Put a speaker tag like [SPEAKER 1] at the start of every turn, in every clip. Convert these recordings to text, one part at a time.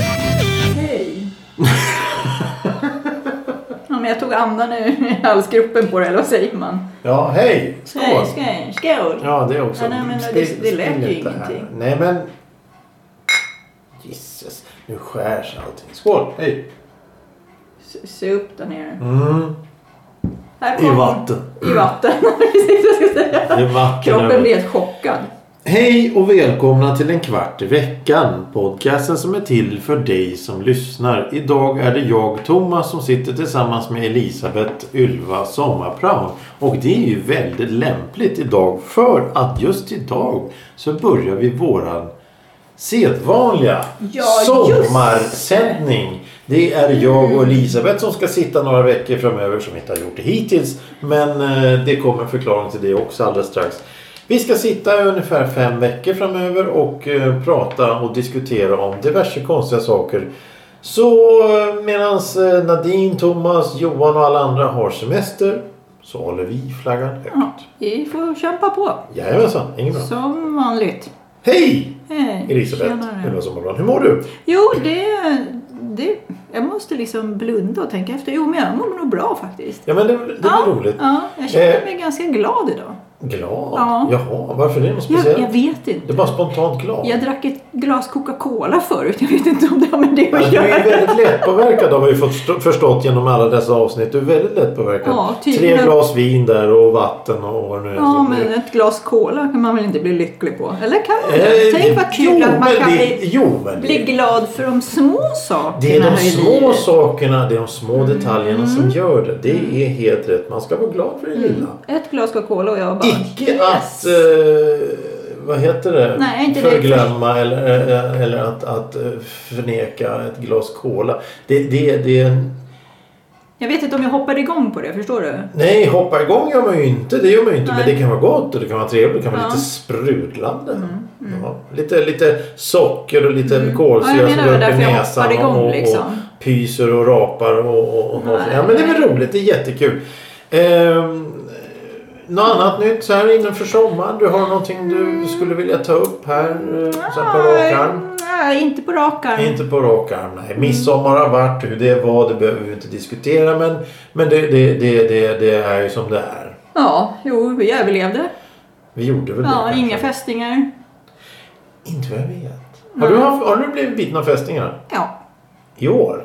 [SPEAKER 1] Hej! ja, men jag tog andan ur halsgropen på det, eller vad säger man?
[SPEAKER 2] Ja, hej! Skål!
[SPEAKER 1] Hej, skål! Skål!
[SPEAKER 2] Ja, det också.
[SPEAKER 1] Ja, nej, men
[SPEAKER 2] Spill-
[SPEAKER 1] det- det lät
[SPEAKER 2] spill
[SPEAKER 1] ju
[SPEAKER 2] inte här.
[SPEAKER 1] ingenting.
[SPEAKER 2] Nej, men... Jesus, nu skärs allting. Skål! Hej!
[SPEAKER 1] S- Se upp där nere.
[SPEAKER 2] Mm.
[SPEAKER 1] Här
[SPEAKER 2] I
[SPEAKER 1] kom-
[SPEAKER 2] vatten.
[SPEAKER 1] I vatten, precis vad jag skulle säga.
[SPEAKER 2] I vatten.
[SPEAKER 1] Kroppen blev helt chockad.
[SPEAKER 2] Hej och välkomna till en kvart i veckan. Podcasten som är till för dig som lyssnar. Idag är det jag, Thomas, som sitter tillsammans med Elisabeth Ylva Sommarprån. Och det är ju väldigt lämpligt idag för att just idag så börjar vi våran sedvanliga
[SPEAKER 1] Ja,
[SPEAKER 2] sommarsändning. Det är
[SPEAKER 1] Mm.
[SPEAKER 2] jag och Elisabeth som ska sitta några veckor framöver som inte har gjort det hittills. Men eh, det kommer en förklaring till det också alldeles strax. Vi ska sitta i ungefär fem veckor framöver och eh, prata och diskutera om diverse konstiga saker. Så eh, medan Nadine, Thomas, Johan och alla andra har semester så håller vi flaggan
[SPEAKER 1] Ja,
[SPEAKER 2] högt.
[SPEAKER 1] vi får kämpa på.
[SPEAKER 2] Jajamensan, inget bra.
[SPEAKER 1] Som vanligt.
[SPEAKER 2] Hej!
[SPEAKER 1] Hej,
[SPEAKER 2] Elisabeth,
[SPEAKER 1] tjenare.
[SPEAKER 2] Ylva Sommarbrand, hur mår du?
[SPEAKER 1] Jo, det, det... Jag måste liksom blunda och tänka efter. Jo, men jag mår nog bra faktiskt.
[SPEAKER 2] Ja men det, det var
[SPEAKER 1] ja,
[SPEAKER 2] roligt.
[SPEAKER 1] Ja, jag känner
[SPEAKER 2] Eh,
[SPEAKER 1] mig ganska glad idag.
[SPEAKER 2] Glad?
[SPEAKER 1] Ja.
[SPEAKER 2] Jaha, varför det? Något speciellt?
[SPEAKER 1] Jag, jag vet
[SPEAKER 2] Det
[SPEAKER 1] inte.
[SPEAKER 2] är bara spontant glad.
[SPEAKER 1] Jag drack ett glas Coca-Cola förut. Jag vet inte om det har med det
[SPEAKER 2] Men
[SPEAKER 1] att
[SPEAKER 2] Alltså, du är
[SPEAKER 1] göra.
[SPEAKER 2] väldigt lättpåverkad har vi fått stå- förstått genom alla dessa avsnitt. Du är väldigt lättpåverkad.
[SPEAKER 1] Ja, tydligen.
[SPEAKER 2] Tre glas vin där och vatten och vad det nu är.
[SPEAKER 1] Ja,
[SPEAKER 2] Så det-
[SPEAKER 1] men ett glas cola kan man väl inte bli lycklig på? Eller kan man
[SPEAKER 2] Eh,
[SPEAKER 1] det? Tänk vad
[SPEAKER 2] jo,
[SPEAKER 1] kul att man
[SPEAKER 2] men
[SPEAKER 1] kan
[SPEAKER 2] det,
[SPEAKER 1] bli,
[SPEAKER 2] Jo, men
[SPEAKER 1] bli
[SPEAKER 2] det,
[SPEAKER 1] glad för de små sakerna
[SPEAKER 2] det är de
[SPEAKER 1] här i
[SPEAKER 2] små
[SPEAKER 1] livet.
[SPEAKER 2] sakerna, det är de små
[SPEAKER 1] Mm.
[SPEAKER 2] detaljerna som gör det. Det är helt rätt. Man ska vara glad för det lilla.
[SPEAKER 1] Ett glas Coca-Cola och jag Mm. bara...
[SPEAKER 2] Icke
[SPEAKER 1] yes.
[SPEAKER 2] att... Eh, vad heter det?
[SPEAKER 1] Nej, inte det.
[SPEAKER 2] Förglömma eller, eh, eller att, att eh, förneka ett glas cola. Det, det, det är en...
[SPEAKER 1] Jag vet inte om jag hoppar igång på det, förstår du?
[SPEAKER 2] Nej, hoppa igång gör man ju inte. Det gör man ju inte.
[SPEAKER 1] Nej.
[SPEAKER 2] Men det kan vara gott och det kan vara trevligt. Det kan vara
[SPEAKER 1] Ja. Mm,
[SPEAKER 2] lite sprudlande. Ja, lite, lite socker och lite kolsyra
[SPEAKER 1] Ja, jag
[SPEAKER 2] som
[SPEAKER 1] menar
[SPEAKER 2] går upp
[SPEAKER 1] det,
[SPEAKER 2] i
[SPEAKER 1] därför jag
[SPEAKER 2] näsan.
[SPEAKER 1] hoppar igång,
[SPEAKER 2] och, och
[SPEAKER 1] liksom.
[SPEAKER 2] pyser och rapar och, och, och
[SPEAKER 1] Nej.
[SPEAKER 2] Ja, men det är väl roligt. Det är jättekul. Ehm,
[SPEAKER 1] Mm.
[SPEAKER 2] något annat nytt så här innanför sommaren? Du har någonting du skulle vilja ta upp här? eh, Så här på rak arm?
[SPEAKER 1] Nej, Nej, inte på rak arm.
[SPEAKER 2] Inte på rak arm, nej.
[SPEAKER 1] Mm.
[SPEAKER 2] Midsommar har varit, hur det var, det behöver vi inte diskutera. Men, men det, det, det, det, det är ju som det är.
[SPEAKER 1] Ja, jo, vi överlevde.
[SPEAKER 2] Vi gjorde väl det
[SPEAKER 1] Ja,
[SPEAKER 2] kanske?
[SPEAKER 1] inga fästingar.
[SPEAKER 2] Inte vad jag vet. Har du, haft, har du blivit biten av fästingar?
[SPEAKER 1] Ja.
[SPEAKER 2] I år?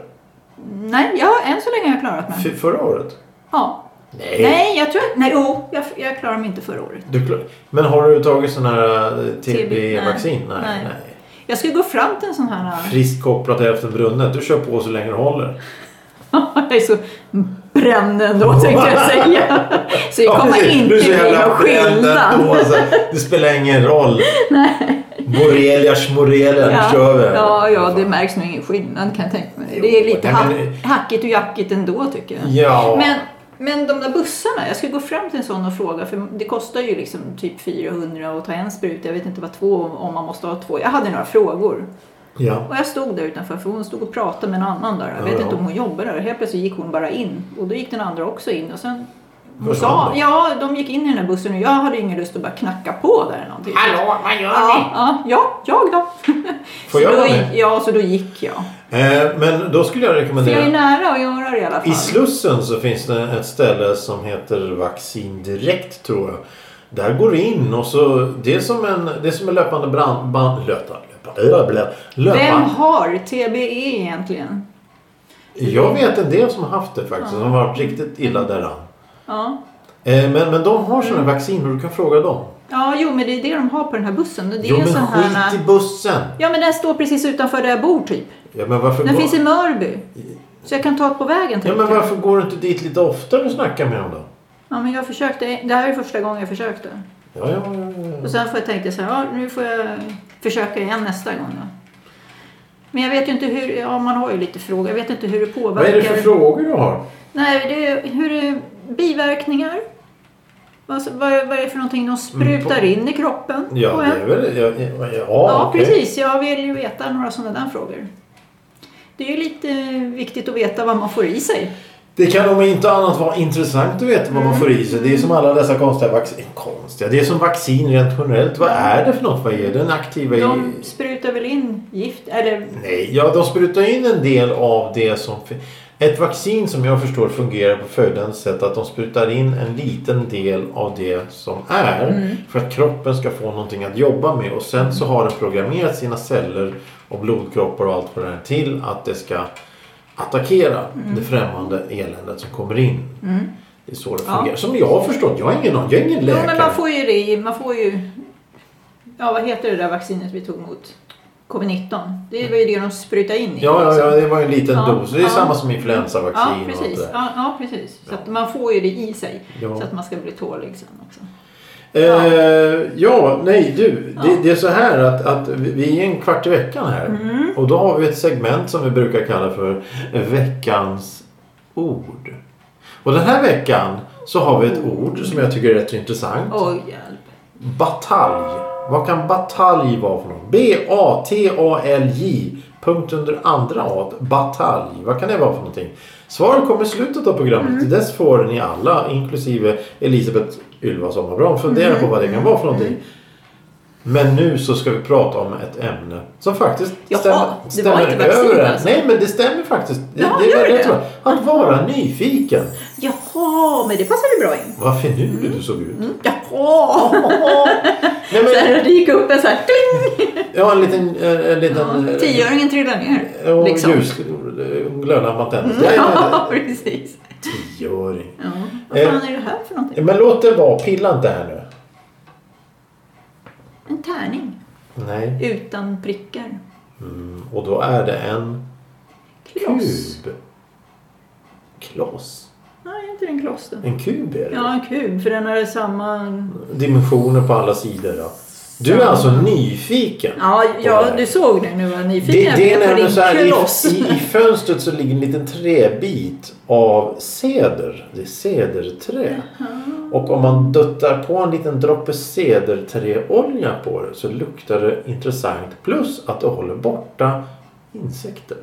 [SPEAKER 1] Nej, ja, än så länge har jag klarat mig.
[SPEAKER 2] F- förra året?
[SPEAKER 1] Ja.
[SPEAKER 2] Nej.
[SPEAKER 1] Nej, jag tror... Nej, jo, jag, jag klarar mig inte förra året.
[SPEAKER 2] Du, klar- men har du tagit sån här eh,
[SPEAKER 1] TB?
[SPEAKER 2] TB-vaccin?
[SPEAKER 1] Nej. Nej. Jag ska gå fram till en sån här...
[SPEAKER 2] Friskt kopplat till hälften brunnet. Du kör på så länge det håller.
[SPEAKER 1] jag är så bränd ändå, tänkte jag säga. Så det kommer
[SPEAKER 2] precis.
[SPEAKER 1] inte
[SPEAKER 2] Du är så
[SPEAKER 1] bli
[SPEAKER 2] jävla
[SPEAKER 1] någon
[SPEAKER 2] bränd ändå,
[SPEAKER 1] skillnad.
[SPEAKER 2] alltså. Det spelar ingen roll. Borrelia, schmorelia, nu kör vi.
[SPEAKER 1] ja, ja, det märks nog ingen skillnad kan jag tänka mig. Det är
[SPEAKER 2] Jo,
[SPEAKER 1] lite
[SPEAKER 2] nej,
[SPEAKER 1] hack,
[SPEAKER 2] men-
[SPEAKER 1] hackigt och jackigt ändå tycker jag.
[SPEAKER 2] Ja.
[SPEAKER 1] Men, men de där bussarna, jag ska gå fram till en sån och fråga för det kostar ju liksom typ 400 att ta en spruta. Jag vet inte vad två, om man måste ha två. Jag hade några frågor.
[SPEAKER 2] Ja.
[SPEAKER 1] Och jag stod där utanför för hon stod och pratade med en annan där. Jag vet
[SPEAKER 2] Ja, ja.
[SPEAKER 1] inte om hon jobbar där. Helt plötsligt gick hon bara in och då gick den andra också in. Och sen hon
[SPEAKER 2] Försvann
[SPEAKER 1] sa,
[SPEAKER 2] de?
[SPEAKER 1] ja, de gick in i den här bussen och jag hade ingen lust att bara knacka på där eller någonting.
[SPEAKER 2] Hallå, vad gör
[SPEAKER 1] Ja, ja, ja, jag då.
[SPEAKER 2] Får
[SPEAKER 1] Så
[SPEAKER 2] jag
[SPEAKER 1] då
[SPEAKER 2] vara
[SPEAKER 1] gick-
[SPEAKER 2] med?
[SPEAKER 1] Ja, så då gick jag.
[SPEAKER 2] Eh, men då skulle jag
[SPEAKER 1] För jag är
[SPEAKER 2] rekommendera.
[SPEAKER 1] nära att göra det i alla fall.
[SPEAKER 2] I Slussen så finns det ett ställe som heter Vaccin Direkt tror jag. Där går du in och så det är som en, det är som en löpande brand, band, löta, löpa, äh, blä, löpa.
[SPEAKER 1] Vem har TBE egentligen?
[SPEAKER 2] Jag vet en del som har haft det faktiskt. Som har varit riktigt illa däran.
[SPEAKER 1] Ja.
[SPEAKER 2] Eh, men, men de har sådana
[SPEAKER 1] Mm.
[SPEAKER 2] vacciner och du kan fråga dem.
[SPEAKER 1] ja, jo men det är det de har på den här bussen. Det är
[SPEAKER 2] Jo
[SPEAKER 1] en
[SPEAKER 2] men
[SPEAKER 1] sån här...
[SPEAKER 2] skit i bussen.
[SPEAKER 1] Ja men den står precis utanför där jag bor typ.
[SPEAKER 2] Ja men varför,
[SPEAKER 1] Den
[SPEAKER 2] går,
[SPEAKER 1] finns i Mörby. Så jag kan ta ett på vägen
[SPEAKER 2] ja,
[SPEAKER 1] tänkte
[SPEAKER 2] men
[SPEAKER 1] jag.
[SPEAKER 2] varför går du inte dit lite oftare och snackar med dem då?
[SPEAKER 1] Ja, men jag försökte. Det här är första gången jag försökte.
[SPEAKER 2] Ja, ja, ja, ja.
[SPEAKER 1] Och sen får jag tänka så här, ja, nu får jag försöka igen nästa gång då. Men jag vet ju inte hur, ja man har ju lite frågor, jag vet inte hur det påverkar.
[SPEAKER 2] Vad är det för frågor du har?
[SPEAKER 1] Nej, det är, hur det, biverkningar. Alltså, vad, vad är det för någonting de sprutar in i kroppen
[SPEAKER 2] Mm, Ja,
[SPEAKER 1] på
[SPEAKER 2] det
[SPEAKER 1] en?
[SPEAKER 2] är väl... Ja, ja, ja,
[SPEAKER 1] Ja,
[SPEAKER 2] okej.
[SPEAKER 1] precis. Jag vill ju veta några sådana där frågor. Det är ju lite viktigt att veta vad man får i sig.
[SPEAKER 2] Det kan om inte annat vara intressant att veta vad man får i sig. Det är som alla dessa konstiga vacciner. Konstiga? Det är som vaccin rent generellt. Vad är det för något? Vad är den aktiva i?
[SPEAKER 1] De sprutar väl in gift, eller
[SPEAKER 2] Nej, ja, de sprutar in en del av det som... fi- Ett vaccin som jag förstår fungerar på följande sätt att de sprutar in en liten del av det som är
[SPEAKER 1] Mm.
[SPEAKER 2] för att kroppen ska få någonting att jobba med och sen så har den programmerat sina celler och blodkroppar och allt vad det är till att det ska attackera
[SPEAKER 1] Mm.
[SPEAKER 2] det främmande eländet som kommer in. Det är så det
[SPEAKER 1] Ja.
[SPEAKER 2] fungerar. Som jag har förstått, jag är ingen, jag är ingen
[SPEAKER 1] Jo,
[SPEAKER 2] läkare.
[SPEAKER 1] men man får ju det i- man får ju... Ja, vad heter det där vaccinet vi tog mot covid-19? Det var ju det de sprutade in i.
[SPEAKER 2] Ja, ja, ja,
[SPEAKER 1] liksom.
[SPEAKER 2] det var en liten
[SPEAKER 1] Ja,
[SPEAKER 2] dos. Det är
[SPEAKER 1] ja.
[SPEAKER 2] samma som influensavaccin
[SPEAKER 1] ja,
[SPEAKER 2] och allt
[SPEAKER 1] precis.
[SPEAKER 2] det där.
[SPEAKER 1] Ja, ja, precis. Så att man får ju det i sig.
[SPEAKER 2] Ja.
[SPEAKER 1] Så att man ska bli tålig sen också.
[SPEAKER 2] Eh, ja, nej du.
[SPEAKER 1] Ja.
[SPEAKER 2] Det, det är så här att, att vi- vi är en kvart i veckan här. Och då har vi ett segment som vi brukar kalla för veckans ord. Och den här veckan så har vi ett ord som jag tycker är rätt intressant.
[SPEAKER 1] Oj, hjälp.
[SPEAKER 2] Batalj. Vad kan batalj vara för något? B-A-T-A-L-J. Punkt under andra A. Batalj. Vad kan det vara för någonting? Svaret kommer i slutet av programmet.
[SPEAKER 1] Mm.
[SPEAKER 2] Till dess får ni alla, inklusive Elisabeth Ylva Sommarbran, fundera på vad det
[SPEAKER 1] Mm.
[SPEAKER 2] kan vara för någonting. Men nu så ska vi prata om ett ämne som faktiskt
[SPEAKER 1] Jaha,
[SPEAKER 2] stämmer,
[SPEAKER 1] det var
[SPEAKER 2] stämmer
[SPEAKER 1] inte vaccin
[SPEAKER 2] över.
[SPEAKER 1] alltså?
[SPEAKER 2] Nej, men det stämmer faktiskt. Det,
[SPEAKER 1] Jaha,
[SPEAKER 2] det är
[SPEAKER 1] gör
[SPEAKER 2] väldigt
[SPEAKER 1] det?
[SPEAKER 2] bra. Att vara nyfiken.
[SPEAKER 1] Jaha, men det passade bra in.
[SPEAKER 2] Vad finurlig du såg ut.
[SPEAKER 1] Mm. Jaha!
[SPEAKER 2] Nej,
[SPEAKER 1] Så
[SPEAKER 2] men,
[SPEAKER 1] här, det gick upp en så här... Kling!
[SPEAKER 2] jag har en liten... En, en liten eh,
[SPEAKER 1] Tioöringen trillade ner.
[SPEAKER 2] Och
[SPEAKER 1] liksom. Mm.
[SPEAKER 2] ljus, glödlampan tändes. Ja, Eh.
[SPEAKER 1] Ja,
[SPEAKER 2] ja, ja.
[SPEAKER 1] precis.
[SPEAKER 2] Tioåring.
[SPEAKER 1] Ja. Vad fan är det här för någonting?
[SPEAKER 2] Men låt det vara, pilla inte här nu.
[SPEAKER 1] En tärning
[SPEAKER 2] Nej.
[SPEAKER 1] utan prickar.
[SPEAKER 2] Mm, Och då är det en
[SPEAKER 1] Kloss.
[SPEAKER 2] kub. Kloss?
[SPEAKER 1] Nej, inte den kloss då.
[SPEAKER 2] En kub är det.
[SPEAKER 1] Ja, en kub, för den är samma...
[SPEAKER 2] Dimensioner på alla sidor. Ja. Du är alltså nyfiken.
[SPEAKER 1] Ja,
[SPEAKER 2] på det
[SPEAKER 1] ja
[SPEAKER 2] här.
[SPEAKER 1] du såg det nu. Vad
[SPEAKER 2] Det,
[SPEAKER 1] nyfiken jag
[SPEAKER 2] det är
[SPEAKER 1] blev på
[SPEAKER 2] nämligen så här,
[SPEAKER 1] din
[SPEAKER 2] i,
[SPEAKER 1] kloss.
[SPEAKER 2] i, i fönstret så ligger en liten träbit av ceder. Det är cederträ. Och om man duttar på en liten droppe cederträolja på det så luktar det intressant. Plus att det håller borta insekter.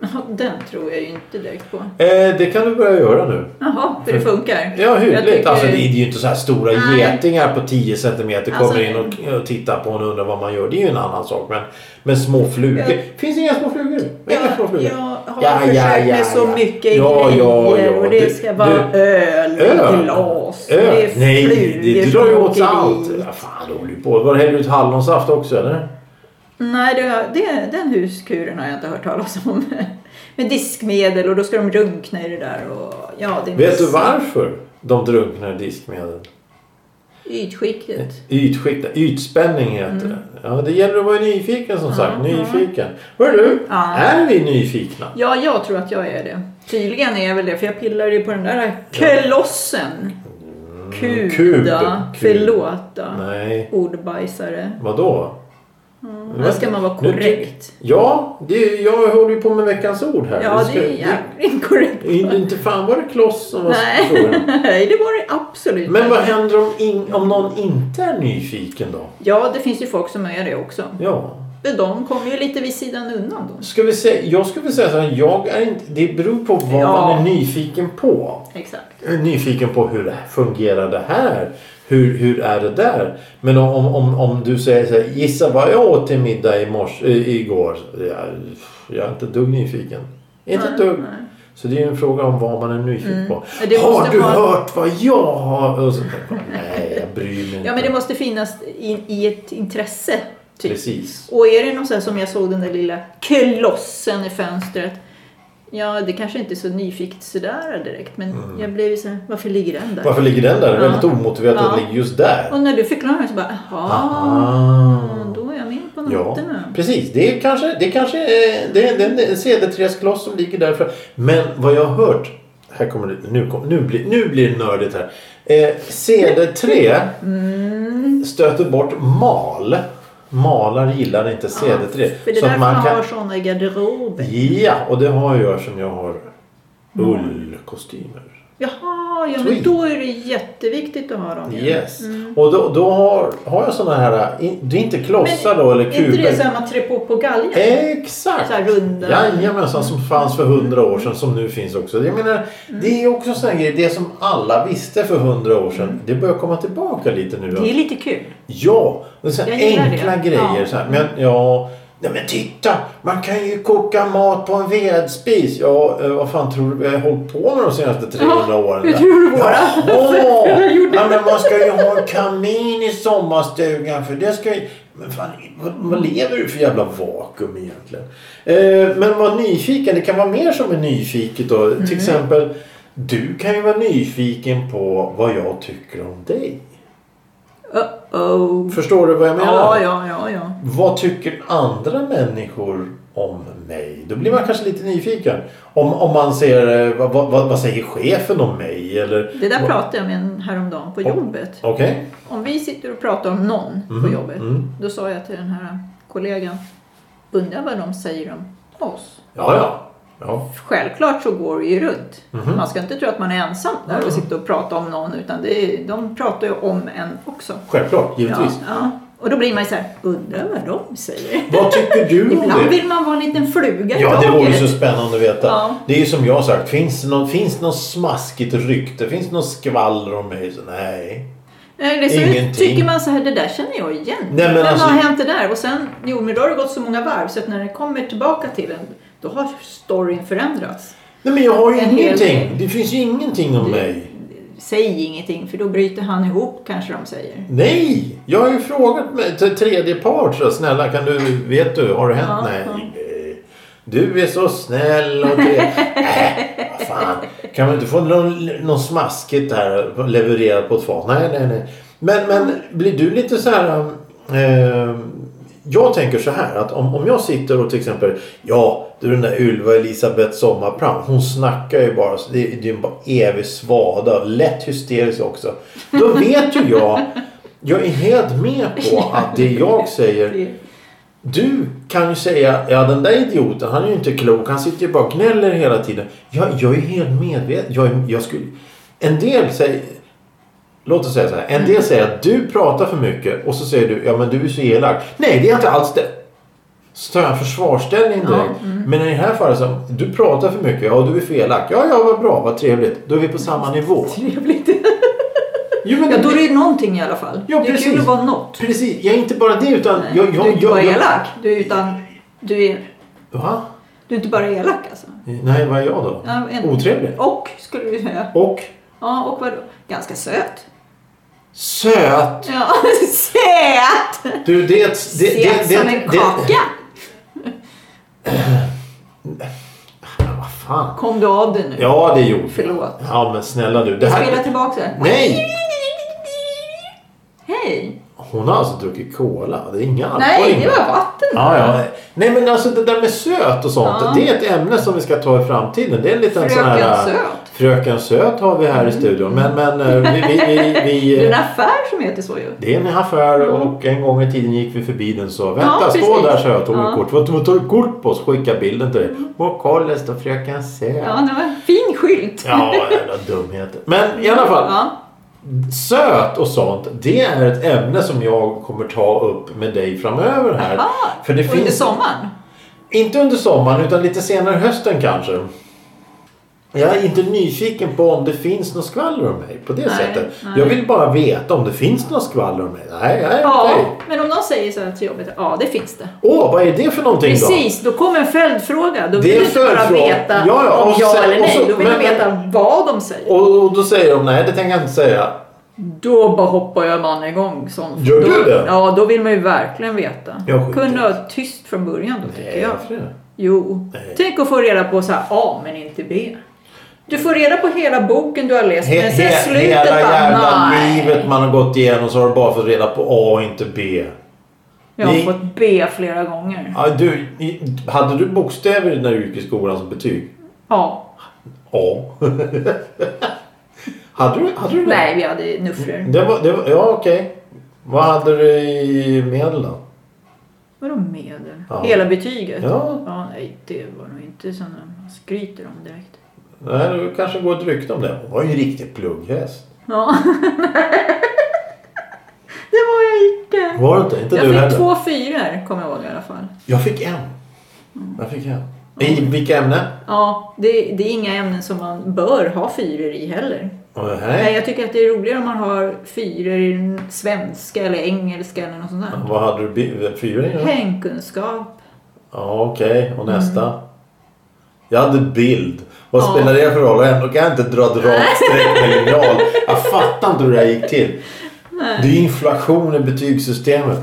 [SPEAKER 1] Ja, Den tror jag ju inte direkt på.
[SPEAKER 2] Eh, det kan du börja göra nu.
[SPEAKER 1] Jaha, för det funkar.
[SPEAKER 2] Ja,
[SPEAKER 1] Jag
[SPEAKER 2] hyggligt.
[SPEAKER 1] tycker-
[SPEAKER 2] Alltså det är ju inte så här stora
[SPEAKER 1] Nej.
[SPEAKER 2] getingar på 10 cm
[SPEAKER 1] Alltså-
[SPEAKER 2] kommer in och, och tittar på en och undrar vad man gör. Det är ju en annan sak. Men, men små flugor.
[SPEAKER 1] Ja.
[SPEAKER 2] Finns det inga små flugor? Inga små
[SPEAKER 1] jag,
[SPEAKER 2] flugor.
[SPEAKER 1] jag har försökt med så mycket
[SPEAKER 2] Ja,
[SPEAKER 1] grejer
[SPEAKER 2] ja, ja.
[SPEAKER 1] och
[SPEAKER 2] Du-
[SPEAKER 1] det ska vara
[SPEAKER 2] du-
[SPEAKER 1] öl,
[SPEAKER 2] öl.
[SPEAKER 1] glas,
[SPEAKER 2] Öl?
[SPEAKER 1] det är
[SPEAKER 2] Nej,
[SPEAKER 1] flugor
[SPEAKER 2] det, det
[SPEAKER 1] som
[SPEAKER 2] drar ju åt
[SPEAKER 1] åker
[SPEAKER 2] sig allt.
[SPEAKER 1] dit.
[SPEAKER 2] Ja, fan, det håller ju på. Var det häller ut hallonsaft också eller?
[SPEAKER 1] Nej, det, det, den huskuren har jag inte hört talas om. Med diskmedel och då ska de drunkna i det där. Och, ja, det är
[SPEAKER 2] Vet du
[SPEAKER 1] massa-
[SPEAKER 2] varför de drunknar i diskmedel?
[SPEAKER 1] Ytskiktet.
[SPEAKER 2] Ytskikt, ytspänning heter
[SPEAKER 1] Mm.
[SPEAKER 2] det. Ja, det gäller att vara nyfiken som sagt. Nyfiken. Hör du,
[SPEAKER 1] Ja.
[SPEAKER 2] är vi nyfikna?
[SPEAKER 1] Ja, jag tror att jag är det. Tydligen är jag väl det, för jag pillar ju på den där klossen. Kuda.
[SPEAKER 2] kub, Mm. kub.
[SPEAKER 1] Förlåt då.
[SPEAKER 2] Nej,
[SPEAKER 1] Ordbajsare.
[SPEAKER 2] vadå?
[SPEAKER 1] Här Mm, ska man vara
[SPEAKER 2] Nu-
[SPEAKER 1] korrekt.
[SPEAKER 2] Ja, det, jag håller ju på med veckans ord här.
[SPEAKER 1] Ja,
[SPEAKER 2] Vi ska-
[SPEAKER 1] det är jävligt korrekt.
[SPEAKER 2] Inte inte fan var det kloss som var
[SPEAKER 1] Nej.
[SPEAKER 2] frågan.
[SPEAKER 1] Nej, det var det absolut
[SPEAKER 2] Men vad
[SPEAKER 1] inte.
[SPEAKER 2] händer om, in, om någon inte är nyfiken då?
[SPEAKER 1] Ja, det finns ju folk som är det också.
[SPEAKER 2] Ja.
[SPEAKER 1] Men De kommer ju lite vid sidan undan då.
[SPEAKER 2] Ska vi säga, jag skulle vilja säga så här, jag är inte, det beror på vad
[SPEAKER 1] Ja.
[SPEAKER 2] man är nyfiken på.
[SPEAKER 1] Exakt.
[SPEAKER 2] Jag är nyfiken på hur det här- fungerar det här? Hur, hur är det där? Men om, om- om, om du säger så här, gissa vad jag åt till middag i morse, i, igår? Jag, jag är inte ett dugg nyfiken. Inte ett dugg.
[SPEAKER 1] nej. Mm.
[SPEAKER 2] Så det är ju en fråga om vad man är nyfiken på.
[SPEAKER 1] Men det
[SPEAKER 2] Har
[SPEAKER 1] måste
[SPEAKER 2] du
[SPEAKER 1] vara-
[SPEAKER 2] hört vad jag har? Och så, nej, jag bryr mig inte.
[SPEAKER 1] Ja, men det måste finnas i, i ett intresse. Typ.
[SPEAKER 2] Precis.
[SPEAKER 1] Och är det någon sån här som jag såg den där lilla klossen i fönstret. Ja, det kanske inte är så nyfiket sådär direkt, men jag blev ju såhär, varför ligger den där?
[SPEAKER 2] Mm. Varför ligger den där? Det är
[SPEAKER 1] Ja.
[SPEAKER 2] väldigt omotiverat att
[SPEAKER 1] Ja.
[SPEAKER 2] den ligger just där.
[SPEAKER 1] Och när du förklarade så bara, jaha,
[SPEAKER 2] Ah.
[SPEAKER 1] då är jag med på
[SPEAKER 2] Ja,
[SPEAKER 1] noterna.
[SPEAKER 2] precis. Det är kanske, det är kanske eh, det är, det är en cederträskloss som ligger där. För... Men vad jag har hört, här kommer det, nu, kom, nu, blir, nu blir det nördigt här. Eh, cederträ
[SPEAKER 1] Mm.
[SPEAKER 2] stöter bort mal. Malar gillar inte cederträ.
[SPEAKER 1] För det är
[SPEAKER 2] så
[SPEAKER 1] därför
[SPEAKER 2] att
[SPEAKER 1] man
[SPEAKER 2] man kan...
[SPEAKER 1] har såna i garderoben.
[SPEAKER 2] Ja, och det har jag som jag har ullkostymer.
[SPEAKER 1] Jaha, ja,
[SPEAKER 2] Tweed.
[SPEAKER 1] men då är det jätteviktigt att ha dem. ju.
[SPEAKER 2] Yes.
[SPEAKER 1] Mm.
[SPEAKER 2] Och då, då har, har jag sådana här, in- det är inte klossar då eller
[SPEAKER 1] Är inte det
[SPEAKER 2] kuber.
[SPEAKER 1] samma trepå på galgen?
[SPEAKER 2] Exakt!
[SPEAKER 1] Så här runda. Mm.
[SPEAKER 2] Jajamensan, som fanns för hundra år sedan som nu finns också. Jag menar, det är också en sån här grej, det som alla visste för hundra år
[SPEAKER 1] Mm.
[SPEAKER 2] sedan, det börjar komma tillbaka lite nu.
[SPEAKER 1] Det är lite kul.
[SPEAKER 2] Ja, det är så här
[SPEAKER 1] Jag gillar
[SPEAKER 2] enkla
[SPEAKER 1] det.
[SPEAKER 2] grejer.
[SPEAKER 1] Ja.
[SPEAKER 2] Så här, men ja, nej men titta, man kan ju koka mat på en vedspis. Ja, eh, vad fan tror du vi har hållit på med de senaste 300
[SPEAKER 1] Ja,
[SPEAKER 2] åren?
[SPEAKER 1] hur tror du våra
[SPEAKER 2] Jaha! ja, men man ska ju ha en kamin i sommarstugan för det ska ju... Men fan, vad, vad lever du för jävla vakuum egentligen? Eh, men var nyfiken, det kan vara mer som är nyfiket då.
[SPEAKER 1] Mhm.
[SPEAKER 2] Till exempel, du kan ju vara nyfiken på vad jag tycker om dig.
[SPEAKER 1] Uh-oh.
[SPEAKER 2] Förstår du vad jag menar?
[SPEAKER 1] Oh. Ja, ja, ja, ja.
[SPEAKER 2] Vad tycker andra människor om mig? Då blir man kanske lite nyfiken. Om, om man ser, eh, vad, vad, vad säger chefen om mig? Eller,
[SPEAKER 1] Det där
[SPEAKER 2] vad-
[SPEAKER 1] pratade jag med en häromdagen på jobbet.
[SPEAKER 2] Okej.
[SPEAKER 1] Om vi sitter och pratar om någon på
[SPEAKER 2] Mhm,
[SPEAKER 1] jobbet.
[SPEAKER 2] mm.
[SPEAKER 1] Då sa jag till den här kollegan. Undrar vad de säger om oss.
[SPEAKER 2] Ja, ja. ja.
[SPEAKER 1] Självklart så går det ju runt.
[SPEAKER 2] Mhm.
[SPEAKER 1] Man ska inte tro att man är ensam där
[SPEAKER 2] Mm.
[SPEAKER 1] och sitter och pratar om någon. Utan det är, de pratar ju om en också.
[SPEAKER 2] Självklart, givetvis.
[SPEAKER 1] Ja, ja. Och då blir man ju så här, undrar vad de säger.
[SPEAKER 2] Vad tycker du om
[SPEAKER 1] Ibland
[SPEAKER 2] det?
[SPEAKER 1] vill man vara en liten fluga i
[SPEAKER 2] Ja, det vore ju
[SPEAKER 1] taket.
[SPEAKER 2] så spännande att veta.
[SPEAKER 1] Ja.
[SPEAKER 2] Det är ju som jag har sagt, finns det någon, finns det någon smaskigt rykte? Finns det någon skvaller om mig? Så, nej.
[SPEAKER 1] Nej, Eh, det är
[SPEAKER 2] Ingenting.
[SPEAKER 1] så tycker man så här, det där känner jag igen.
[SPEAKER 2] Nej, men alltså-
[SPEAKER 1] vad har hänt det där? Och sen, jo men då har det gått så många varv så att när det kommer tillbaka till en, då har storyn förändrats.
[SPEAKER 2] Nej, men jag har ju
[SPEAKER 1] En hel
[SPEAKER 2] ingenting. Det finns ju ingenting om mig.
[SPEAKER 1] Säg ingenting för då bryter han ihop kanske de säger.
[SPEAKER 2] Nej! Jag har ju frågat mig till tredje part. Så snälla, kan du, vet du, har det hänt?
[SPEAKER 1] Ja,
[SPEAKER 2] Nej.
[SPEAKER 1] ja.
[SPEAKER 2] nej. Du är så snäll och trevlig. äh, vad fan. Kan man inte få någon, någon smaskigt här levererat på ett fat? Nej, nej, nej. Men, men blir du lite så här... Eh, jag tänker så här att om, om jag sitter och till exempel Ja, du den där Ylva Elisabeth Sommarpram. Hon snackar ju bara. så Det, det är ju bara evig svada. Lätt hysterisk också. Då vet ju jag. Jag är helt med på att det jag säger du kan ju säga, ja den där idioten han är ju inte klok, han sitter ju bara och gnäller hela tiden. Jag, jag är helt medveten. Jag, är- jag skulle, en del säger, låt oss säga så här, en del säger att du pratar för mycket och så säger du, ja men du är så elak. Nej det är jag inte alls det. Så tar jag en försvarsställning direkt.
[SPEAKER 1] mm.
[SPEAKER 2] Men i det här fallet så, du pratar för mycket, ja du är för elak. Ja ja vad bra, vad trevligt. Då är vi på samma nivå.
[SPEAKER 1] Trevligt.
[SPEAKER 2] Jo, men
[SPEAKER 1] Ja, då är det ju någonting i alla fall.
[SPEAKER 2] Ja,
[SPEAKER 1] det är
[SPEAKER 2] precis.
[SPEAKER 1] kul att vara något.
[SPEAKER 2] Precis, jag är inte bara det utan...
[SPEAKER 1] Nej,
[SPEAKER 2] Jag, jag,
[SPEAKER 1] du är inte
[SPEAKER 2] jag,
[SPEAKER 1] bara
[SPEAKER 2] jag-
[SPEAKER 1] elak. Du är, utan, du, är,
[SPEAKER 2] Va?
[SPEAKER 1] du är inte bara elak alltså.
[SPEAKER 2] Nej, vad är jag då?
[SPEAKER 1] Ja, en-
[SPEAKER 2] Otrevlig?
[SPEAKER 1] Och skulle du säga.
[SPEAKER 2] Och
[SPEAKER 1] Ja, och vadå? Ganska söt.
[SPEAKER 2] söt.
[SPEAKER 1] Ja, söt!
[SPEAKER 2] Du, det... det, det,
[SPEAKER 1] Söt
[SPEAKER 2] det,
[SPEAKER 1] som en kaka.
[SPEAKER 2] Det, ja, vad fan.
[SPEAKER 1] Kom du av det nu?
[SPEAKER 2] Ja, det gjorde jag.
[SPEAKER 1] Förlåt.
[SPEAKER 2] Ja, men snälla du. Det
[SPEAKER 1] Spela
[SPEAKER 2] här...
[SPEAKER 1] tillbaka det.
[SPEAKER 2] Nej!
[SPEAKER 1] Hej!
[SPEAKER 2] Hon har alltså druckit cola. Det är inga alkohol
[SPEAKER 1] Nej, det var
[SPEAKER 2] inblandat.
[SPEAKER 1] vatten.
[SPEAKER 2] Ja, ja. Nej, men alltså det där med söt och sånt.
[SPEAKER 1] Ja.
[SPEAKER 2] Det är ett ämne som vi ska ta i framtiden. Det är en liten
[SPEAKER 1] Fröken
[SPEAKER 2] sån här...
[SPEAKER 1] Söt. Mm.
[SPEAKER 2] Fröken Söt har vi här i studion. Men, men eh, vi... vi,
[SPEAKER 1] Det
[SPEAKER 2] vi,
[SPEAKER 1] är
[SPEAKER 2] vi
[SPEAKER 1] en affär som heter så ju.
[SPEAKER 2] det är en affär och en gång i tiden gick vi förbi den så Vänta,
[SPEAKER 1] Ja,
[SPEAKER 2] stå
[SPEAKER 1] precis.
[SPEAKER 2] där så jag tog
[SPEAKER 1] Ja.
[SPEAKER 2] ett kort. Vad tar du kort på oss? Skicka bilden till dig. Och kolla, det står fröken Söt.
[SPEAKER 1] Ja, det var en fin skylt.
[SPEAKER 2] Ja, jävla dumheter. Men i alla fall.
[SPEAKER 1] Ja.
[SPEAKER 2] Söt och sånt, det är ett ämne som jag kommer ta upp med dig framöver här.
[SPEAKER 1] Ah,
[SPEAKER 2] För det
[SPEAKER 1] under
[SPEAKER 2] finns...
[SPEAKER 1] sommaren.
[SPEAKER 2] Inte under sommaren, utan lite senare hösten kanske. Jag är inte nyfiken på om det finns något skvaller om mig på det
[SPEAKER 1] Nej,
[SPEAKER 2] sättet.
[SPEAKER 1] nej.
[SPEAKER 2] Jag vill bara veta om det finns något skvaller om mig. Nej, nej,
[SPEAKER 1] Ja,
[SPEAKER 2] nej.
[SPEAKER 1] men om någon säger så här till jobbet. Ja, det finns det.
[SPEAKER 2] Åh, vad är det för någonting då?
[SPEAKER 1] Precis, då kommer en följdfråga. Då
[SPEAKER 2] Det
[SPEAKER 1] vill du
[SPEAKER 2] är
[SPEAKER 1] inte bara
[SPEAKER 2] följdfråga.
[SPEAKER 1] veta
[SPEAKER 2] Ja, ja,
[SPEAKER 1] om
[SPEAKER 2] och
[SPEAKER 1] ja
[SPEAKER 2] sen-
[SPEAKER 1] eller
[SPEAKER 2] och
[SPEAKER 1] nej.
[SPEAKER 2] så-
[SPEAKER 1] då vill
[SPEAKER 2] men-
[SPEAKER 1] du veta vad de säger.
[SPEAKER 2] Och, och då säger de nej, det tänker jag inte säga.
[SPEAKER 1] Då bara hoppar jag man igång. Som,
[SPEAKER 2] Gör
[SPEAKER 1] då,
[SPEAKER 2] du det?
[SPEAKER 1] Ja, då vill man ju verkligen veta.
[SPEAKER 2] Jag skiter.
[SPEAKER 1] Kunde ha varit tyst från början då tycker
[SPEAKER 2] Nej,
[SPEAKER 1] jag.
[SPEAKER 2] varför det?
[SPEAKER 1] Jo.
[SPEAKER 2] Nej.
[SPEAKER 1] Tänk att få reda på så här A men inte B. Du får reda på hela boken du har läst
[SPEAKER 2] He,
[SPEAKER 1] men sen
[SPEAKER 2] he,
[SPEAKER 1] slutet
[SPEAKER 2] hela jävla
[SPEAKER 1] bara nej.
[SPEAKER 2] livet man har gått igenom så har du bara fått reda på A och inte B.
[SPEAKER 1] Jag har
[SPEAKER 2] Ni-
[SPEAKER 1] fått B flera gånger.
[SPEAKER 2] Ja, du, i- hade du bokstäver när du gick i skolan som betyg?
[SPEAKER 1] Ja.
[SPEAKER 2] A. hade, du, hade du det?
[SPEAKER 1] Nej, vi hade nuffror.
[SPEAKER 2] det, var, det var, ja, okej. Vad hade du i medel då?
[SPEAKER 1] Vadå medel?
[SPEAKER 2] Ja.
[SPEAKER 1] Hela betyget?
[SPEAKER 2] Ja.
[SPEAKER 1] nej, det var nog inte som de skryter om direkt.
[SPEAKER 2] Nej, det kanske går ett rykte om det. Hon var ju en riktig plugghäst.
[SPEAKER 1] Ja. det var jag inte.
[SPEAKER 2] Var det inte? Inte du
[SPEAKER 1] Jag
[SPEAKER 2] heller?
[SPEAKER 1] fick två fyror kommer jag ihåg i alla fall.
[SPEAKER 2] Jag fick en. Jag fick en. I vilka ämnen?
[SPEAKER 1] Ja, det, det är inga ämnen som man bör ha fyror i heller.
[SPEAKER 2] Åh,
[SPEAKER 1] Nej,
[SPEAKER 2] Nej.
[SPEAKER 1] jag tycker att det är roligare om man har fyror i svenska eller engelska eller något sånt där.
[SPEAKER 2] Vad hade du? bi- Fyra i?
[SPEAKER 1] Hängkunskap.
[SPEAKER 2] Ja, okej. Och nästa? Jag hade bild. Vad
[SPEAKER 1] Mm. Ja.
[SPEAKER 2] spelar det för roll? Och Ändå kan jag inte dra ett rakt streck med linjal. Jag fattar inte hur det här gick till. Det är ju inflation i betygssystemet.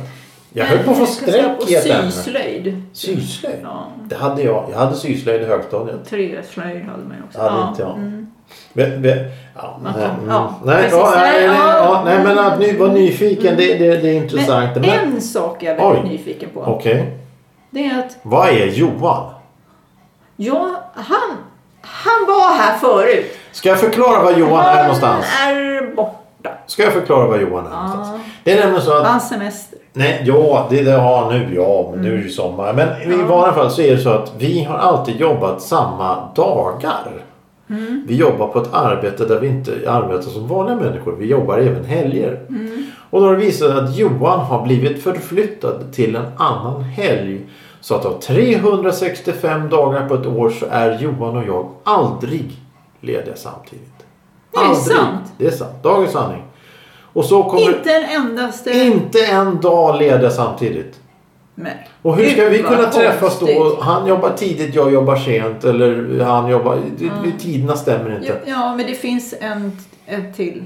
[SPEAKER 2] Jag höll på att få
[SPEAKER 1] Hängkunskap
[SPEAKER 2] streck i ett
[SPEAKER 1] Och
[SPEAKER 2] ämne.
[SPEAKER 1] syslöjd.
[SPEAKER 2] Syslöjd?
[SPEAKER 1] Ja,
[SPEAKER 2] Det hade jag. Jag hade syslöjd i högstadiet.
[SPEAKER 1] träslöjd hade man ju också.
[SPEAKER 2] Ja, det är inte jag. Ve- ve- ja,
[SPEAKER 1] Mm. Man
[SPEAKER 2] nej,
[SPEAKER 1] kan-
[SPEAKER 2] mm.
[SPEAKER 1] ja,
[SPEAKER 2] nej,
[SPEAKER 1] precis.
[SPEAKER 2] ja, nej,
[SPEAKER 1] Nej,
[SPEAKER 2] nej,
[SPEAKER 1] ja.
[SPEAKER 2] ja, nej, men att ny, vara nyfiken, det, det, det är intressant.
[SPEAKER 1] Men
[SPEAKER 2] Men,
[SPEAKER 1] en sak jag är väldigt
[SPEAKER 2] Oj.
[SPEAKER 1] nyfiken på.
[SPEAKER 2] Okej,
[SPEAKER 1] Det är att
[SPEAKER 2] vad är Johan?
[SPEAKER 1] jag, han, han var här förut.
[SPEAKER 2] Ska jag förklara vad Johan är någonstans?
[SPEAKER 1] Han är borta.
[SPEAKER 2] Ska jag förklara vad Johan är någonstans? Det är nämligen så att
[SPEAKER 1] Han semester.
[SPEAKER 2] Nej, ja, det, det har nu, ja, men
[SPEAKER 1] Mm.
[SPEAKER 2] nu är det ju sommar. Men i varje fall så är det så att vi har alltid jobbat samma dagar.
[SPEAKER 1] Mm.
[SPEAKER 2] Vi jobbar på ett arbete där vi inte arbetar som vanliga människor. Vi jobbar även helger.
[SPEAKER 1] Mm.
[SPEAKER 2] Och då har det visat sig att Johan har blivit förflyttad till en annan helg. Så att av 365 dagar på ett år så är Johan och jag aldrig lediga samtidigt.
[SPEAKER 1] Det är sant.
[SPEAKER 2] Det är sant. Dagens sanning. Och så kommer...
[SPEAKER 1] Inte en endaste.
[SPEAKER 2] Inte en dag leder samtidigt.
[SPEAKER 1] Nej.
[SPEAKER 2] Och hur ska
[SPEAKER 1] Gud,
[SPEAKER 2] vi
[SPEAKER 1] vad
[SPEAKER 2] kunna träffas då?
[SPEAKER 1] konstigt.
[SPEAKER 2] Han jobbar tidigt, jag jobbar sent. Eller han jobbar... Mm. Tiderna stämmer inte.
[SPEAKER 1] Ja, men det finns en, en till.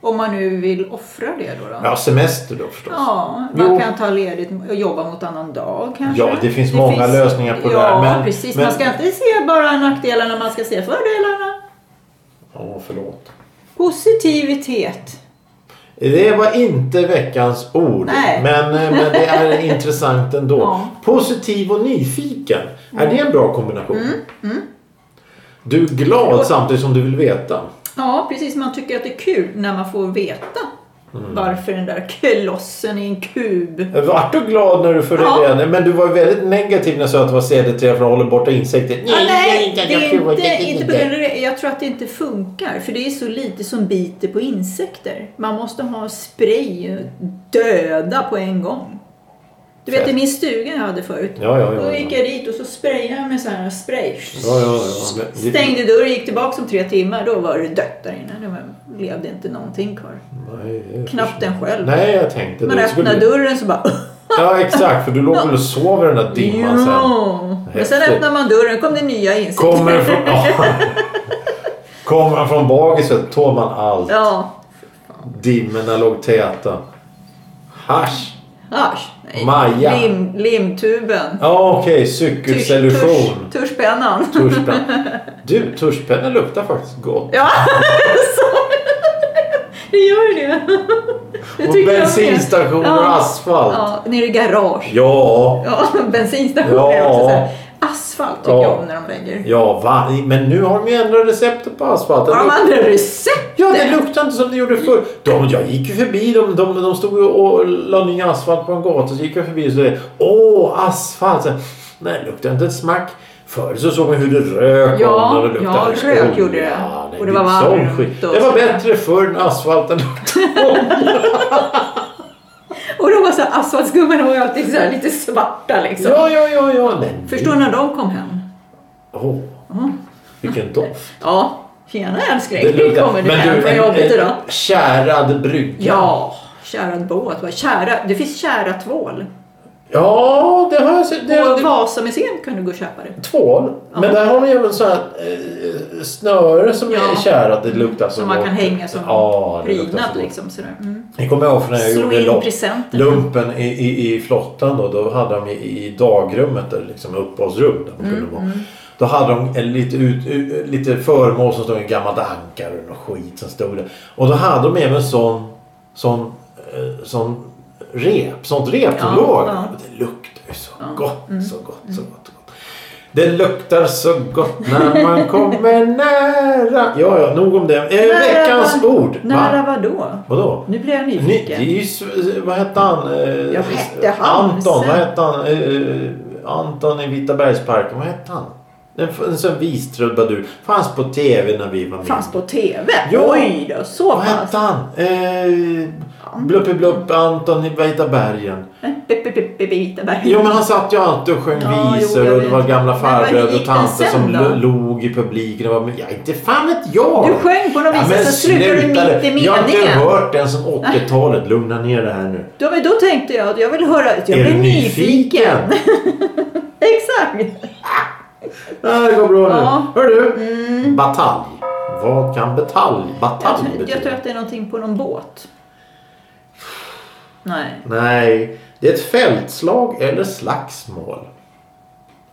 [SPEAKER 1] Om man nu vill offra det då. då.
[SPEAKER 2] Ja, semester då förstås.
[SPEAKER 1] Ja, man
[SPEAKER 2] Jo.
[SPEAKER 1] kan ta ledigt och jobba mot annan dag kanske.
[SPEAKER 2] Ja, det finns många lösningar på det
[SPEAKER 1] ja,
[SPEAKER 2] här, men-
[SPEAKER 1] precis.
[SPEAKER 2] men-
[SPEAKER 1] Man ska inte se bara nackdelarna, man ska se fördelarna.
[SPEAKER 2] Åh, förlåt.
[SPEAKER 1] Positivitet.
[SPEAKER 2] Det var inte veckans ord.
[SPEAKER 1] Nej.
[SPEAKER 2] Men, eh, men det är intressant ändå.
[SPEAKER 1] Ja.
[SPEAKER 2] Positiv och nyfiken. Är det en bra kombination?
[SPEAKER 1] Mm,
[SPEAKER 2] Du är glad samtidigt som du vill veta.
[SPEAKER 1] Ja, precis. Man tycker att det är kul när man får veta
[SPEAKER 2] Mm.
[SPEAKER 1] varför den där klossen i en kub.
[SPEAKER 2] Vart du glad när du förde
[SPEAKER 1] Ja.
[SPEAKER 2] det? Men du var väldigt negativ när jag sa att det var CD3 från Håller borta insekter.
[SPEAKER 1] Ja, nej, det
[SPEAKER 2] jag
[SPEAKER 1] är
[SPEAKER 2] provar
[SPEAKER 1] inte, inte på grund av det. Jag tror att det inte funkar. För det är så lite som biter på insekter. Man måste ha spray och döda på en gång. Du vet i min stuga jag hade förut.
[SPEAKER 2] Ja, ja, ja,
[SPEAKER 1] Då
[SPEAKER 2] ja.
[SPEAKER 1] gick jag dit och så sprayade jag med sån här spray.
[SPEAKER 2] Ja, ja, ja. Men det-
[SPEAKER 1] Stängde dörren, gick tillbaka om tre timmar. Då var det dött där inne. Det levde inte någonting kvar.
[SPEAKER 2] Nej, jag
[SPEAKER 1] Knappt en själv.
[SPEAKER 2] Nej, jag tänkte
[SPEAKER 1] Man
[SPEAKER 2] det.
[SPEAKER 1] öppnade dörren så bara...
[SPEAKER 2] Ja, exakt. För du låg väl och sov i den där dimman sen.
[SPEAKER 1] Ja. Men sen
[SPEAKER 2] Häftigt.
[SPEAKER 1] öppnar man dörren kom det nya insekter.
[SPEAKER 2] Kommer från... Ja. Kommer han från bagiset tål man allt.
[SPEAKER 1] Ja.
[SPEAKER 2] Dimmorna låg täta. Hasch.
[SPEAKER 1] Asch, nej.
[SPEAKER 2] Maja.
[SPEAKER 1] Lim, limtuben.
[SPEAKER 2] Ja, okej.
[SPEAKER 1] Tusch-
[SPEAKER 2] Cykelsolution.
[SPEAKER 1] tusch- Tuschpennan.
[SPEAKER 2] Tuschpenna. Du, tuschpenna luktar faktiskt gott.
[SPEAKER 1] Ja, så. Det gör ju det. Det
[SPEAKER 2] Och
[SPEAKER 1] tycker jag med.
[SPEAKER 2] bensinstationer och asfalt.
[SPEAKER 1] Ja, nere i garage.
[SPEAKER 2] Ja,
[SPEAKER 1] Ja, bensinstationer
[SPEAKER 2] Ja.
[SPEAKER 1] är också så här. Asfalt tycker
[SPEAKER 2] Ja.
[SPEAKER 1] jag om när de lägger.
[SPEAKER 2] ja va? men nu har de ju ändrat receptet på asfalten.
[SPEAKER 1] Har de andra recept?
[SPEAKER 2] Ja, det luktar inte som det gjorde förr. De, jag gick ju förbi dem. De, de stod ju och la ny asfalt på en gata. Så gick jag förbi och så Åh, asfalt! Så, Nej, det luktar inte ett smack. Förr så såg man hur det rök
[SPEAKER 1] Ja,
[SPEAKER 2] av när det luktade.
[SPEAKER 1] ja, rök gjorde det.
[SPEAKER 2] Ja, nej,
[SPEAKER 1] Och det var
[SPEAKER 2] är sån
[SPEAKER 1] varmt
[SPEAKER 2] skit.
[SPEAKER 1] och
[SPEAKER 2] Det var
[SPEAKER 1] sådär.
[SPEAKER 2] bättre förr när asfalten luktade.
[SPEAKER 1] Och de var så här, asfaltsgubbarna var ju alltid så här lite svarta liksom.
[SPEAKER 2] ja, ja, ja, ja. Nej, nej.
[SPEAKER 1] Förstår när de kom hem?
[SPEAKER 2] Åh,
[SPEAKER 1] Ja.
[SPEAKER 2] vilken doft.
[SPEAKER 1] Ja, tjena älskling.
[SPEAKER 2] Det
[SPEAKER 1] Hur
[SPEAKER 2] luktar-
[SPEAKER 1] kommer du hem från
[SPEAKER 2] en-
[SPEAKER 1] jobbet
[SPEAKER 2] en
[SPEAKER 1] idag?
[SPEAKER 2] Tjärad brygga.
[SPEAKER 1] Ja, kärad båt. Vad Kära, det finns kära tvål.
[SPEAKER 2] Ja, det har jag sett. Det,
[SPEAKER 1] På
[SPEAKER 2] det,
[SPEAKER 1] Vasamuseet kan du gå och köpa
[SPEAKER 2] Alltså,
[SPEAKER 1] det.
[SPEAKER 2] tvål. Men där har de även så här eh, snöre som är
[SPEAKER 1] Ja.
[SPEAKER 2] kärat. Det luktar så
[SPEAKER 1] Som man
[SPEAKER 2] gott.
[SPEAKER 1] kan hänga som
[SPEAKER 2] ja, det luktar
[SPEAKER 1] prydnad
[SPEAKER 2] så gott.
[SPEAKER 1] liksom. Sådär. Mm.
[SPEAKER 2] Det kommer jag ihåg från när jag
[SPEAKER 1] Slå
[SPEAKER 2] gjorde
[SPEAKER 1] in
[SPEAKER 2] lopp,
[SPEAKER 1] presenten.
[SPEAKER 2] lumpen i, i, i flottan. Då, då hade de i, i dagrummet, eller liksom uppehållsrum där man
[SPEAKER 1] Mm,
[SPEAKER 2] kunde vara. Då hade de en lite, ut, u- lite föremål som stod i gammalt ankare och något skit som stod där. Och då hade de även sån, sån, eh, sån rep, sånt rep som
[SPEAKER 1] Ja,
[SPEAKER 2] låg.
[SPEAKER 1] ja. mm,
[SPEAKER 2] Och Det luktar ju så gott, så gott, så gott. så gott. Det luktar så gott när man kommer nära. Ja, ja, nog om det. Eh, veckans ord. Va?
[SPEAKER 1] Nära vadå?
[SPEAKER 2] Vadå?
[SPEAKER 1] Nu blir jag
[SPEAKER 2] Ny, det är
[SPEAKER 1] nyfiken.
[SPEAKER 2] ju, s- vad hette han? Eh,
[SPEAKER 1] Jag hette han
[SPEAKER 2] Anton,
[SPEAKER 1] sen.
[SPEAKER 2] vad hette han? Eh, eh, Anton i Vitabergsparken, vad hette han? En, en sån vistrubadur. Fanns på tv när vi var mindre.
[SPEAKER 1] Fanns på TV?
[SPEAKER 2] Ja.
[SPEAKER 1] Oj då, så
[SPEAKER 2] Vad
[SPEAKER 1] pass.
[SPEAKER 2] hette han? Eh, Bluppe Blupp Anton i Vita bergen.
[SPEAKER 1] Eh, Bebitaberg.
[SPEAKER 2] Jo men han satt ju alltid och sjöng
[SPEAKER 1] Ja, jo,
[SPEAKER 2] visor
[SPEAKER 1] jag
[SPEAKER 2] och det var
[SPEAKER 1] vet.
[SPEAKER 2] gamla
[SPEAKER 1] Men vad
[SPEAKER 2] farbröder och
[SPEAKER 1] gick den
[SPEAKER 2] tanter
[SPEAKER 1] sen
[SPEAKER 2] som
[SPEAKER 1] då?
[SPEAKER 2] lo- log i publiken. Och var, men, ja, inte fan vet jag!
[SPEAKER 1] Du sjöng på något vis, så slutade du
[SPEAKER 2] sluta
[SPEAKER 1] mitt i
[SPEAKER 2] det. Jag har inte
[SPEAKER 1] meningen.
[SPEAKER 2] hört den som 80-talet. Lugna ner det här nu.
[SPEAKER 1] Då, men då tänkte jag att jag vill höra, jag
[SPEAKER 2] Är du
[SPEAKER 1] blev nyfiken.
[SPEAKER 2] nyfiken?
[SPEAKER 1] Exakt!
[SPEAKER 2] Ja, det går bra nu.
[SPEAKER 1] Ja. Mm.
[SPEAKER 2] Hör du? Batalj. Vad kan batalj,
[SPEAKER 1] Jag,
[SPEAKER 2] batalj
[SPEAKER 1] tror-
[SPEAKER 2] betyda?
[SPEAKER 1] jag tror att det är någonting på någon båt. Nej.
[SPEAKER 2] Nej, det är ett fältslag eller slagsmål.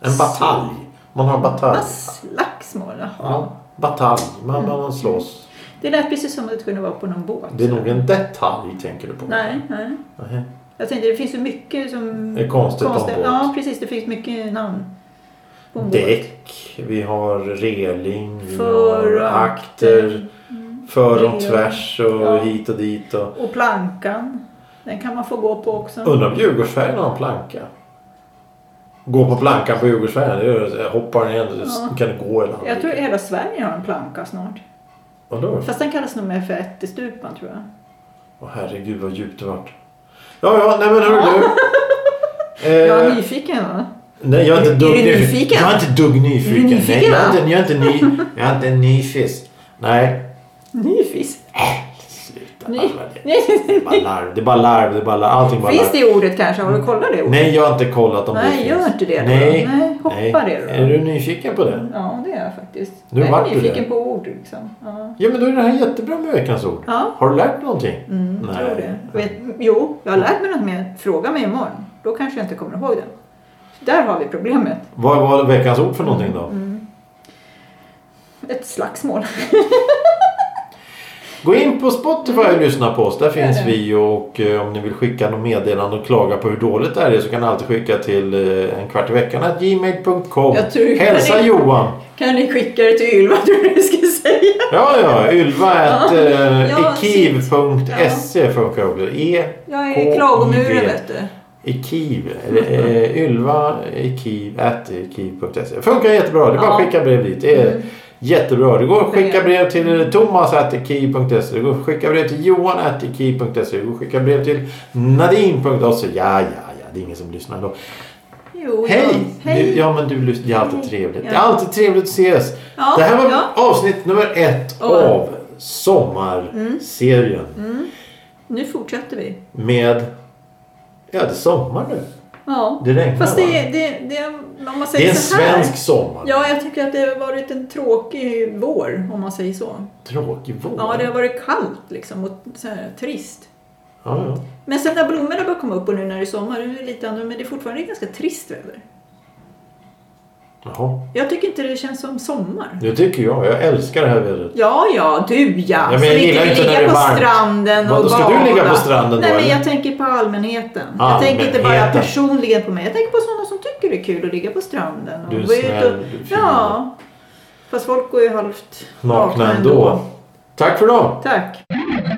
[SPEAKER 2] En batalj. Man har batalj.
[SPEAKER 1] Vad slagsmål? jaha.
[SPEAKER 2] Ja, batalj. Man,
[SPEAKER 1] Mm.
[SPEAKER 2] man slåss.
[SPEAKER 1] Det lät precis som att det kunde vara på någon båt.
[SPEAKER 2] Det är nog en detalj tänker du på.
[SPEAKER 1] Nej, nej.
[SPEAKER 2] Nej.
[SPEAKER 1] Jag tänkte det finns ju mycket som...
[SPEAKER 2] Det är konstigt på en båt.
[SPEAKER 1] Ja, precis. Det finns mycket namn. På en båt.
[SPEAKER 2] Däck, vi har reling, vi har
[SPEAKER 1] Förakter.
[SPEAKER 2] akter, för och
[SPEAKER 1] Rel.
[SPEAKER 2] tvärs och
[SPEAKER 1] Mm. Ja.
[SPEAKER 2] hit och dit. Och...
[SPEAKER 1] Och plankan. Den kan man få gå på också.
[SPEAKER 2] Undrar om Djurgårdsfärjan har en planka? Gå på plankan på Djurgårdsfärjan, det gör- hoppar ner och
[SPEAKER 1] Ja.
[SPEAKER 2] kan det gå eller något.
[SPEAKER 1] Jag tror hela Sverige har en planka snart.
[SPEAKER 2] Vadå?
[SPEAKER 1] Fast den kallas nog mer för ättestupan tror jag.
[SPEAKER 2] Eh. Åh, herregud vad djupt det vart. Ja, ja, nej men hörru du.
[SPEAKER 1] Jag är
[SPEAKER 2] Eh,
[SPEAKER 1] nyfiken va?
[SPEAKER 2] nej, jag är inte
[SPEAKER 1] Är
[SPEAKER 2] dugg
[SPEAKER 1] du nyfiken?
[SPEAKER 2] Jag är inte dugg nyfiken.
[SPEAKER 1] Är du nyfiken,
[SPEAKER 2] nej, jag, är
[SPEAKER 1] va?
[SPEAKER 2] inte, jag, är inte ny, jag är inte en nyfis. Nej.
[SPEAKER 1] Nyfis?
[SPEAKER 2] Sluta
[SPEAKER 1] Ny...
[SPEAKER 2] alla det. Det är bara larv. Det är bara larv. Det är bara larv. Allting bara
[SPEAKER 1] Finns
[SPEAKER 2] larv.
[SPEAKER 1] det ordet kanske? Har du kollat det ordet?
[SPEAKER 2] Nej, jag har inte kollat om det
[SPEAKER 1] Nej,
[SPEAKER 2] finns.
[SPEAKER 1] gör inte det då.
[SPEAKER 2] Nej.
[SPEAKER 1] Nej, hoppa det då.
[SPEAKER 2] Är du nyfiken på det?
[SPEAKER 1] Ja, det är jag faktiskt.
[SPEAKER 2] Nu
[SPEAKER 1] jag
[SPEAKER 2] vart
[SPEAKER 1] är
[SPEAKER 2] du
[SPEAKER 1] nyfiken
[SPEAKER 2] det.
[SPEAKER 1] på ord liksom. Ja.
[SPEAKER 2] Ja, men då är det här jättebra med veckans ord.
[SPEAKER 1] Ja.
[SPEAKER 2] Har du lärt dig någonting?
[SPEAKER 1] Mm, jag tror det. Vet, jo, jag har lärt mig något mer. Fråga mig imorgon. Då kanske jag inte kommer ihåg det. Där har vi problemet.
[SPEAKER 2] Vad var veckans ord för någonting
[SPEAKER 1] Mm,
[SPEAKER 2] då?
[SPEAKER 1] Ett slagsmål.
[SPEAKER 2] Gå in på Spotify och lyssna på oss. Där finns
[SPEAKER 1] Gör det.
[SPEAKER 2] vi och eh, om ni vill skicka något meddelande och klaga på hur dåligt det här är så kan ni alltid skicka till eh, en kvart i veckan at gmail.com.
[SPEAKER 1] Jag tror-
[SPEAKER 2] Hälsa Johan.
[SPEAKER 1] Kan ni skicka det till Ylva, tror du du skulle säga?
[SPEAKER 2] Ja, ja. Ylva at eh,
[SPEAKER 1] Ja,
[SPEAKER 2] ekiv.se funkar också. E
[SPEAKER 1] Jag
[SPEAKER 2] K-
[SPEAKER 1] är klagomuren,
[SPEAKER 2] I-
[SPEAKER 1] vet du.
[SPEAKER 2] Ekiv. eller, eh, Ylva ekiv at ekiv.se. Funkar jättebra. Det är bara
[SPEAKER 1] Ja.
[SPEAKER 2] att
[SPEAKER 1] Mm.
[SPEAKER 2] skicka brev dit. Det är jättebra. Det går att skicka
[SPEAKER 1] Brev.
[SPEAKER 2] brev till Thomas at ekiv.se. Det går att skicka brev till Johan at ekiv.se. Det går att skicka brev till Nadine.se. Ja, ja, ja. Det är ingen som lyssnar då.
[SPEAKER 1] Jo,
[SPEAKER 2] Hej!
[SPEAKER 1] ja. Hej.
[SPEAKER 2] Du, ja, men du lyssnar. Det är alltid
[SPEAKER 1] Hej.
[SPEAKER 2] trevligt.
[SPEAKER 1] Ja.
[SPEAKER 2] Det är alltid trevligt att ses.
[SPEAKER 1] Ja,
[SPEAKER 2] det här var
[SPEAKER 1] ja.
[SPEAKER 2] avsnitt nummer ett
[SPEAKER 1] Åh. Mm.
[SPEAKER 2] av sommarserien.
[SPEAKER 1] Nu fortsätter vi.
[SPEAKER 2] Med...
[SPEAKER 1] Mm.
[SPEAKER 2] Ja, det är sommar nu.
[SPEAKER 1] Ja.
[SPEAKER 2] Det regnar,
[SPEAKER 1] Fast
[SPEAKER 2] va?
[SPEAKER 1] det, är- det, det, är- om man
[SPEAKER 2] Det är
[SPEAKER 1] säger
[SPEAKER 2] en
[SPEAKER 1] så här.
[SPEAKER 2] svensk sommar.
[SPEAKER 1] Ja, jag tycker att det har varit en tråkig vår, om man säger så.
[SPEAKER 2] Tråkig vår.
[SPEAKER 1] Ja, det har varit kallt liksom och så här, trist.
[SPEAKER 2] Ja, ja.
[SPEAKER 1] Men sen när blommorna börjar komma upp och nu när det är sommar, nu är det lite annorlunda, men det är fortfarande ganska trist väder.
[SPEAKER 2] Jaha.
[SPEAKER 1] Jag tycker inte det känns som sommar.
[SPEAKER 2] Det tycker jag. Jag älskar det här vädret.
[SPEAKER 1] Ja, ja, du ja.
[SPEAKER 2] men
[SPEAKER 1] Som
[SPEAKER 2] jag gillar
[SPEAKER 1] vill
[SPEAKER 2] inte när
[SPEAKER 1] ligga
[SPEAKER 2] det är
[SPEAKER 1] på
[SPEAKER 2] varmt.
[SPEAKER 1] stranden
[SPEAKER 2] Vad,
[SPEAKER 1] och
[SPEAKER 2] ska du
[SPEAKER 1] bada.
[SPEAKER 2] ligga på stranden då,
[SPEAKER 1] Nej, men
[SPEAKER 2] eller?
[SPEAKER 1] jag tänker på allmänheten. Jag
[SPEAKER 2] Allmänheten.
[SPEAKER 1] tänker inte bara personligen på mig. Jag tänker på sådana som tycker det är kul att ligga på stranden. Och
[SPEAKER 2] Du är
[SPEAKER 1] gå ut
[SPEAKER 2] snäll,
[SPEAKER 1] och...
[SPEAKER 2] du är fin.
[SPEAKER 1] Ja. Fast folk går ju halvt
[SPEAKER 2] Nakna ändå. Tack för idag.
[SPEAKER 1] Tack.